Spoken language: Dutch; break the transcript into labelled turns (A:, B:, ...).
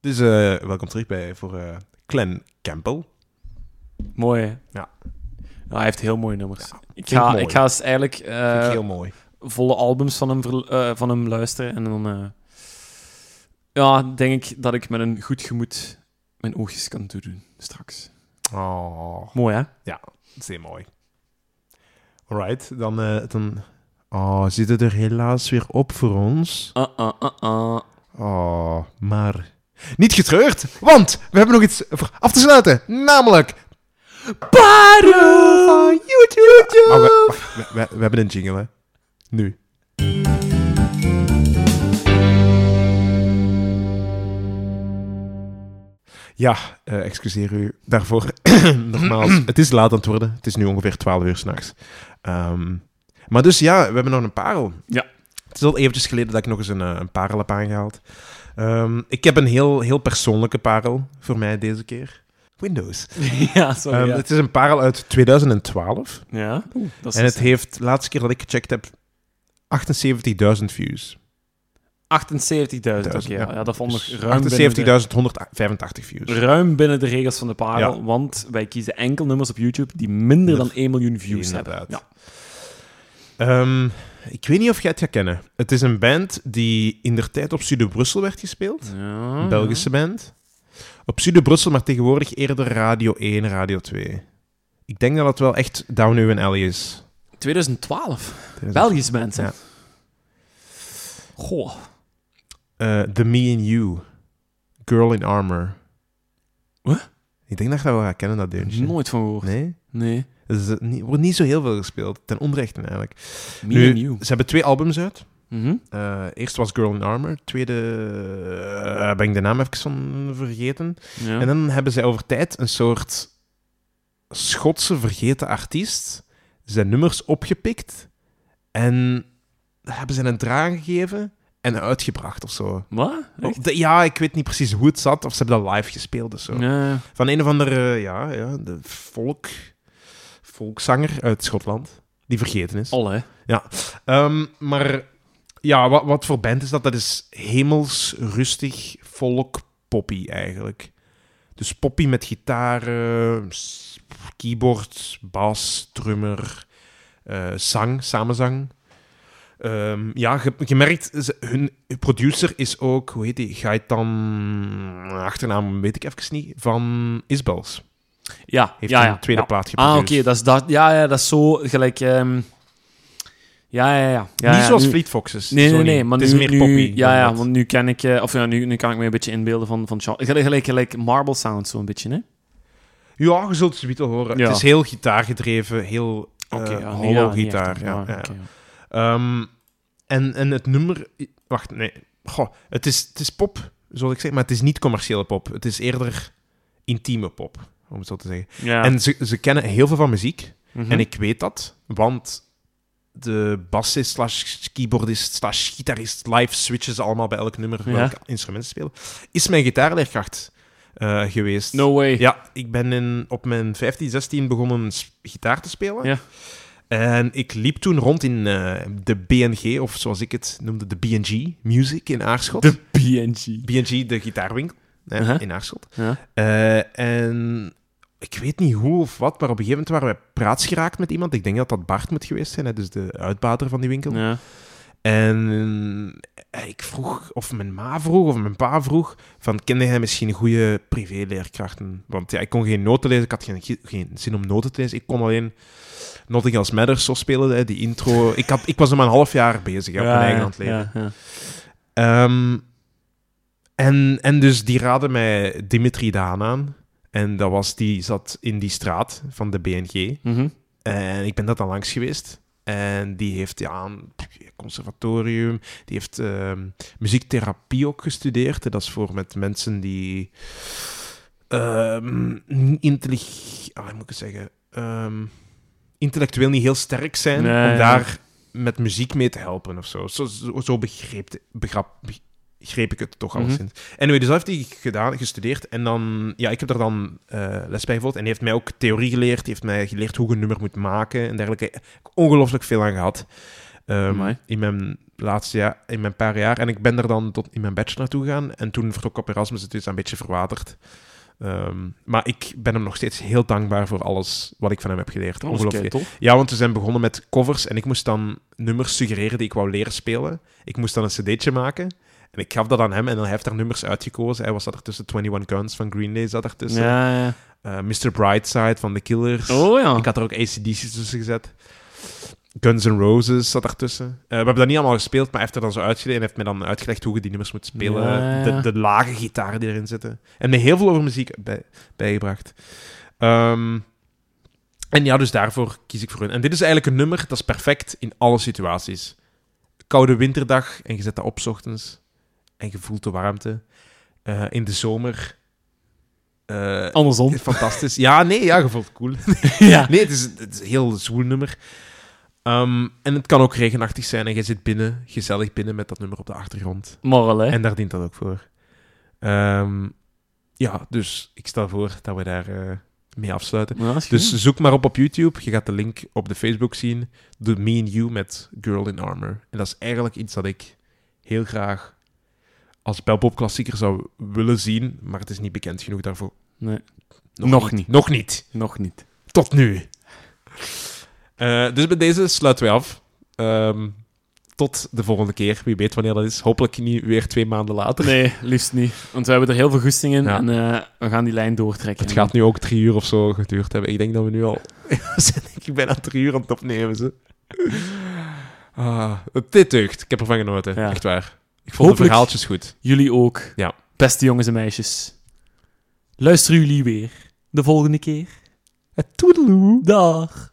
A: Dus eh, welkom terug bij voor eh Clem Campbell.
B: Mooi, hè?
A: Ja.
B: Ja, hij heeft heel mooie nummers. ik,
A: vind ik
B: ga,
A: mooi.
B: ik ga eens eigenlijk eh,
A: Vind ik heel mooi.
B: volle albums van hem, verl- eh, van hem luisteren. En dan eh, ja, denk ik dat ik met een goed gemoed mijn oogjes kan toedoen straks.
A: Oh,
B: Mooi, hè?
A: zeer mooi. Alright, dan, eh, dan... Oh, zit het er helaas weer op voor ons.
B: Ah, ah, ah, ah.
A: Oh, maar... Niet getreurd, want we hebben nog iets voor af te sluiten. Namelijk... Parel van YouTube! Maar Ah, we, we, we- we hebben een jingle, hè. Nu. Ja, eh, excuseer u daarvoor. Nogmaals, het is laat aan het worden. Het is nu ongeveer 12 uur s'nachts. Ehm maar dus ja, we hebben nog een parel.
B: Ja.
A: Het is al eventjes geleden dat ik nog eens een, eh, een parel heb aangehaald. Ehm, ik heb een heel, heel persoonlijke parel voor mij deze keer. Windows.
B: ja, sorry.
A: Ehm,
B: ja.
A: Het is een parel uit 2012.
B: Ja, dat is
A: En het heeft, laatste keer dat ik gecheckt heb, 78.000 views.
B: 78.000. Oké,
A: Duizend,
B: ja.
A: ja.
B: Ja, dat vond ik
A: Dus
B: ruim, binnen
A: 78.185
B: de,
A: views.
B: ruim binnen de regels van de parel.
A: Ja.
B: Want wij kiezen enkel nummers op YouTube die minder dan 1 miljoen views hebben.
A: Inderdaad.
B: Ja.
A: Ehm, ik weet niet of jij het gaat kennen. Het is een band die in der tijd op Studio Brussel werd gespeeld.
B: Ja,
A: Een Belgische band. Op Studio Brussel, maar tegenwoordig eerder Radio 1, Radio 2. Ik denk dat het wel echt Down New Alley is.
B: 2012. Belgisch mensen.
A: Ja.
B: Goh.
A: Eh, The Me and You. Girl in Armor.
B: Wat?
A: Ik denk dat je dat wel gaat kennen, dat deuntje.
B: Nooit van gehoord.
A: Nee?
B: Nee.
A: Dus het niet- wordt niet zo heel veel gespeeld. Ten onrechte eigenlijk.
B: Me
A: Nu-
B: and you.
A: Ze hebben twee albums uit.
B: Mhm.
A: Eh, eerst was Girl in Armor. Tweede eh, ben ik de naam even van vergeten.
B: Ja.
A: En dan hebben zij over tijd een soort Schotse vergeten artiest. Zijn nummers opgepikt. En daar hebben ze een draai gegeven en uitgebracht of zo.
B: Wat? Echt?
A: Of de- ja, ik weet niet precies hoe het zat. Of ze hebben dat live gespeeld of zo.
B: Ja.
A: Van een of andere, ja, ja de volk, volkszanger uit Schotland. Die vergeten is.
B: Al, hè?
A: Ehm, maar ja, wat, wat voor band is dat? Dat is hemels rustig folk poppy eigenlijk. Dus poppy met gitaar, eh, s- keyboard, bas, drummer, eh, zang, samenzang. Ehm, ja, je, je merkt, ze- hun producer is ook, hoe heet die, Gaetan, achternaam weet ik even niet, van Isbels.
B: Ja.
A: Heeft
B: ja,
A: een
B: ja.
A: tweede
B: ja.
A: plaat
B: Ah,
A: geproduceerd.
B: oké. dat is dat. Ja, ja, dat is zo gelijk... ehm, Ja, ja, ja. ja
A: niet
B: ja,
A: zoals
B: nu-
A: Fleet Foxes.
B: Nee,
A: Zo
B: nee,
A: niet.
B: nee. Maar
A: Het is
B: nu,
A: meer
B: nu-
A: poppy.
B: Ja,
A: dan
B: ja,
A: dat.
B: want nu ken ik... eh, Of ja, nu, nu kan ik me een beetje inbeelden van... van genre- gelijk, gelijk, gelijk Marble Sound zo'n beetje, hè?
A: Ja, je zult het zoiets wel horen.
B: Ja.
A: Het is heel gitaargedreven, heel eh
B: Oké, ja, nee,
A: hollow
B: ja, niet
A: gitaar.
B: echt,
A: ja,
B: maar,
A: ja.
B: oké, ja.
A: Ehm, en, en het nummer... Wacht, nee. Goh, het, is, het is pop, zoals ik zeg, maar het is niet commerciële pop. Het is eerder intieme pop, om het zo te zeggen.
B: Ja.
A: En ze, ze kennen heel veel van muziek.
B: Mhm.
A: En ik weet dat, want de bassist slash keyboardist slash gitarist live switchen ze allemaal bij elk nummer
B: Ja.
A: welk instrument ze spelen. Is mijn gitaarleerkracht eh, geweest.
B: No way.
A: Ja, ik ben in, op mijn 15, 16 begonnen s- gitaar te spelen.
B: Ja.
A: En ik liep toen rond in eh, de BNG, of zoals ik het noemde, de BNG Music in Aarschot.
B: De PNG.
A: BNG, de gitaarwinkel hè,
B: Uh-huh.
A: in Aarschot.
B: Ja.
A: Eh, en ik weet niet hoe of wat, maar op een gegeven moment waren wij praats geraakt met iemand. Ik denk dat dat Bart moet geweest zijn, hè, dus de uitbater van die winkel.
B: Ja.
A: En eh, ik vroeg, of mijn ma vroeg, of mijn pa vroeg, van kende jij misschien goede privéleerkrachten? Want ja, ik kon geen noten lezen, ik had geen, gi- geen zin om noten te lezen. Ik kon alleen Nothing Else Matters zo spelen, hè, die intro. ik, had, ik was er maar een half jaar bezig, hè, op mijn eigen hand leren.
B: Ja, ja.
A: Ehm, en, en dus die raadde mij Dimitri Daan aan. En dat was, die zat in die straat van de BNG.
B: Mhm.
A: En ik ben dat dan langs geweest. En die heeft ja, een conservatorium, die heeft ehm, muziektherapie ook gestudeerd. En dat is voor met mensen die ehm, niet intellig- ah, hoe moet ik het zeggen, Ehm, intellectueel niet heel sterk zijn,
B: Nee,
A: om
B: ja.
A: daar met muziek mee te helpen of zo. Zo, zo, zo begreep, begrap, begreep ik het toch
B: Mhm.
A: alleszins. Anyway, dus dat heeft hij gedaan, gestudeerd. En dan, ja, ik heb daar dan eh, les bij gevolgd. En hij heeft mij ook theorie geleerd. Die heeft mij geleerd hoe je een nummer moet maken en dergelijke. Ik heb Ongelooflijk veel aan gehad. Ehm,
B: Amai.
A: in mijn de laatste jaar, in mijn paar jaar. En ik ben er dan tot in mijn bachelor naartoe gegaan. En toen vertrok ik op Erasmus, het is een beetje verwaterd. Ehm, maar ik ben hem nog steeds heel dankbaar voor alles wat ik van hem heb geleerd. Ongelooflijk.
B: tof.
A: Ja, want we zijn begonnen met covers en ik moest dan nummers suggereren die ik wou leren spelen. Ik moest dan een cd'tje maken en ik gaf dat aan hem en hij heeft daar nummers uitgekozen. Hij was dat er tussen 21 Guns van Green Day zat er
B: Dus,
A: tussen.
B: Ja, ja.
A: Eh, Mr. Brightside van The Killers.
B: Oh ja.
A: Ik had er ook ACDC's tussen gezet. Guns N' Roses zat daartussen. Eh, we hebben dat niet allemaal gespeeld, maar hij heeft er dan zo uitgeleid en heeft mij dan uitgelegd hoe je die nummers moet spelen.
B: Ja, ja.
A: De, de lage gitaren die erin zitten. En me heel veel over muziek bij, bijgebracht. Ehm, en ja, dus daarvoor kies ik voor hun. En dit is eigenlijk een nummer dat is perfect in alle situaties. Koude winterdag en je zet dat op 's ochtends en je voelt de warmte. Eh, in de zomer. eh,
B: Andersom.
A: Fantastisch. Ja, nee, ja, je voelt het cool.
B: ja.
A: Nee, het is, het is een heel zwoel nummer. Ehm, en het kan ook regenachtig zijn en je zit binnen, gezellig binnen met dat nummer op de achtergrond.
B: Morrel, hè.
A: En daar dient dat ook voor. Ehm, ja, dus ik stel voor dat we daar eh, mee afsluiten.
B: Ja, is goed.
A: Dus zoek maar op op YouTube. Je gaat de link op de Facebook zien. Doe Me and You met Girl in Armor. En dat is eigenlijk iets dat ik heel graag als Belpop klassieker zou willen zien. Maar het is niet bekend genoeg daarvoor.
B: Nee. Nog niet.
A: Nog niet.
B: Nog niet.
A: Tot nu. Eh, dus bij deze sluiten wij af. Ehm, tot de volgende keer. Wie weet wanneer dat is. Hopelijk niet weer twee maanden later.
B: Nee, liefst niet. Want we hebben er heel veel goesting in
A: Ja.
B: en eh, we gaan die lijn doortrekken.
A: Het gaat nu ook drie uur of zo geduurd hebben. Ik denk dat we nu al... we zijn denk ik bijna drie uur aan het opnemen. Ze. Ah, dit deugt. Ik heb ervan genoten.
B: Ja.
A: Echt waar. Ik vond de
B: Hopelijk-
A: verhaaltjes goed.
B: Jullie ook.
A: Ja.
B: Beste jongens en meisjes. Luisteren jullie weer de volgende keer.
A: Eh, Toedeloe.
B: Dag.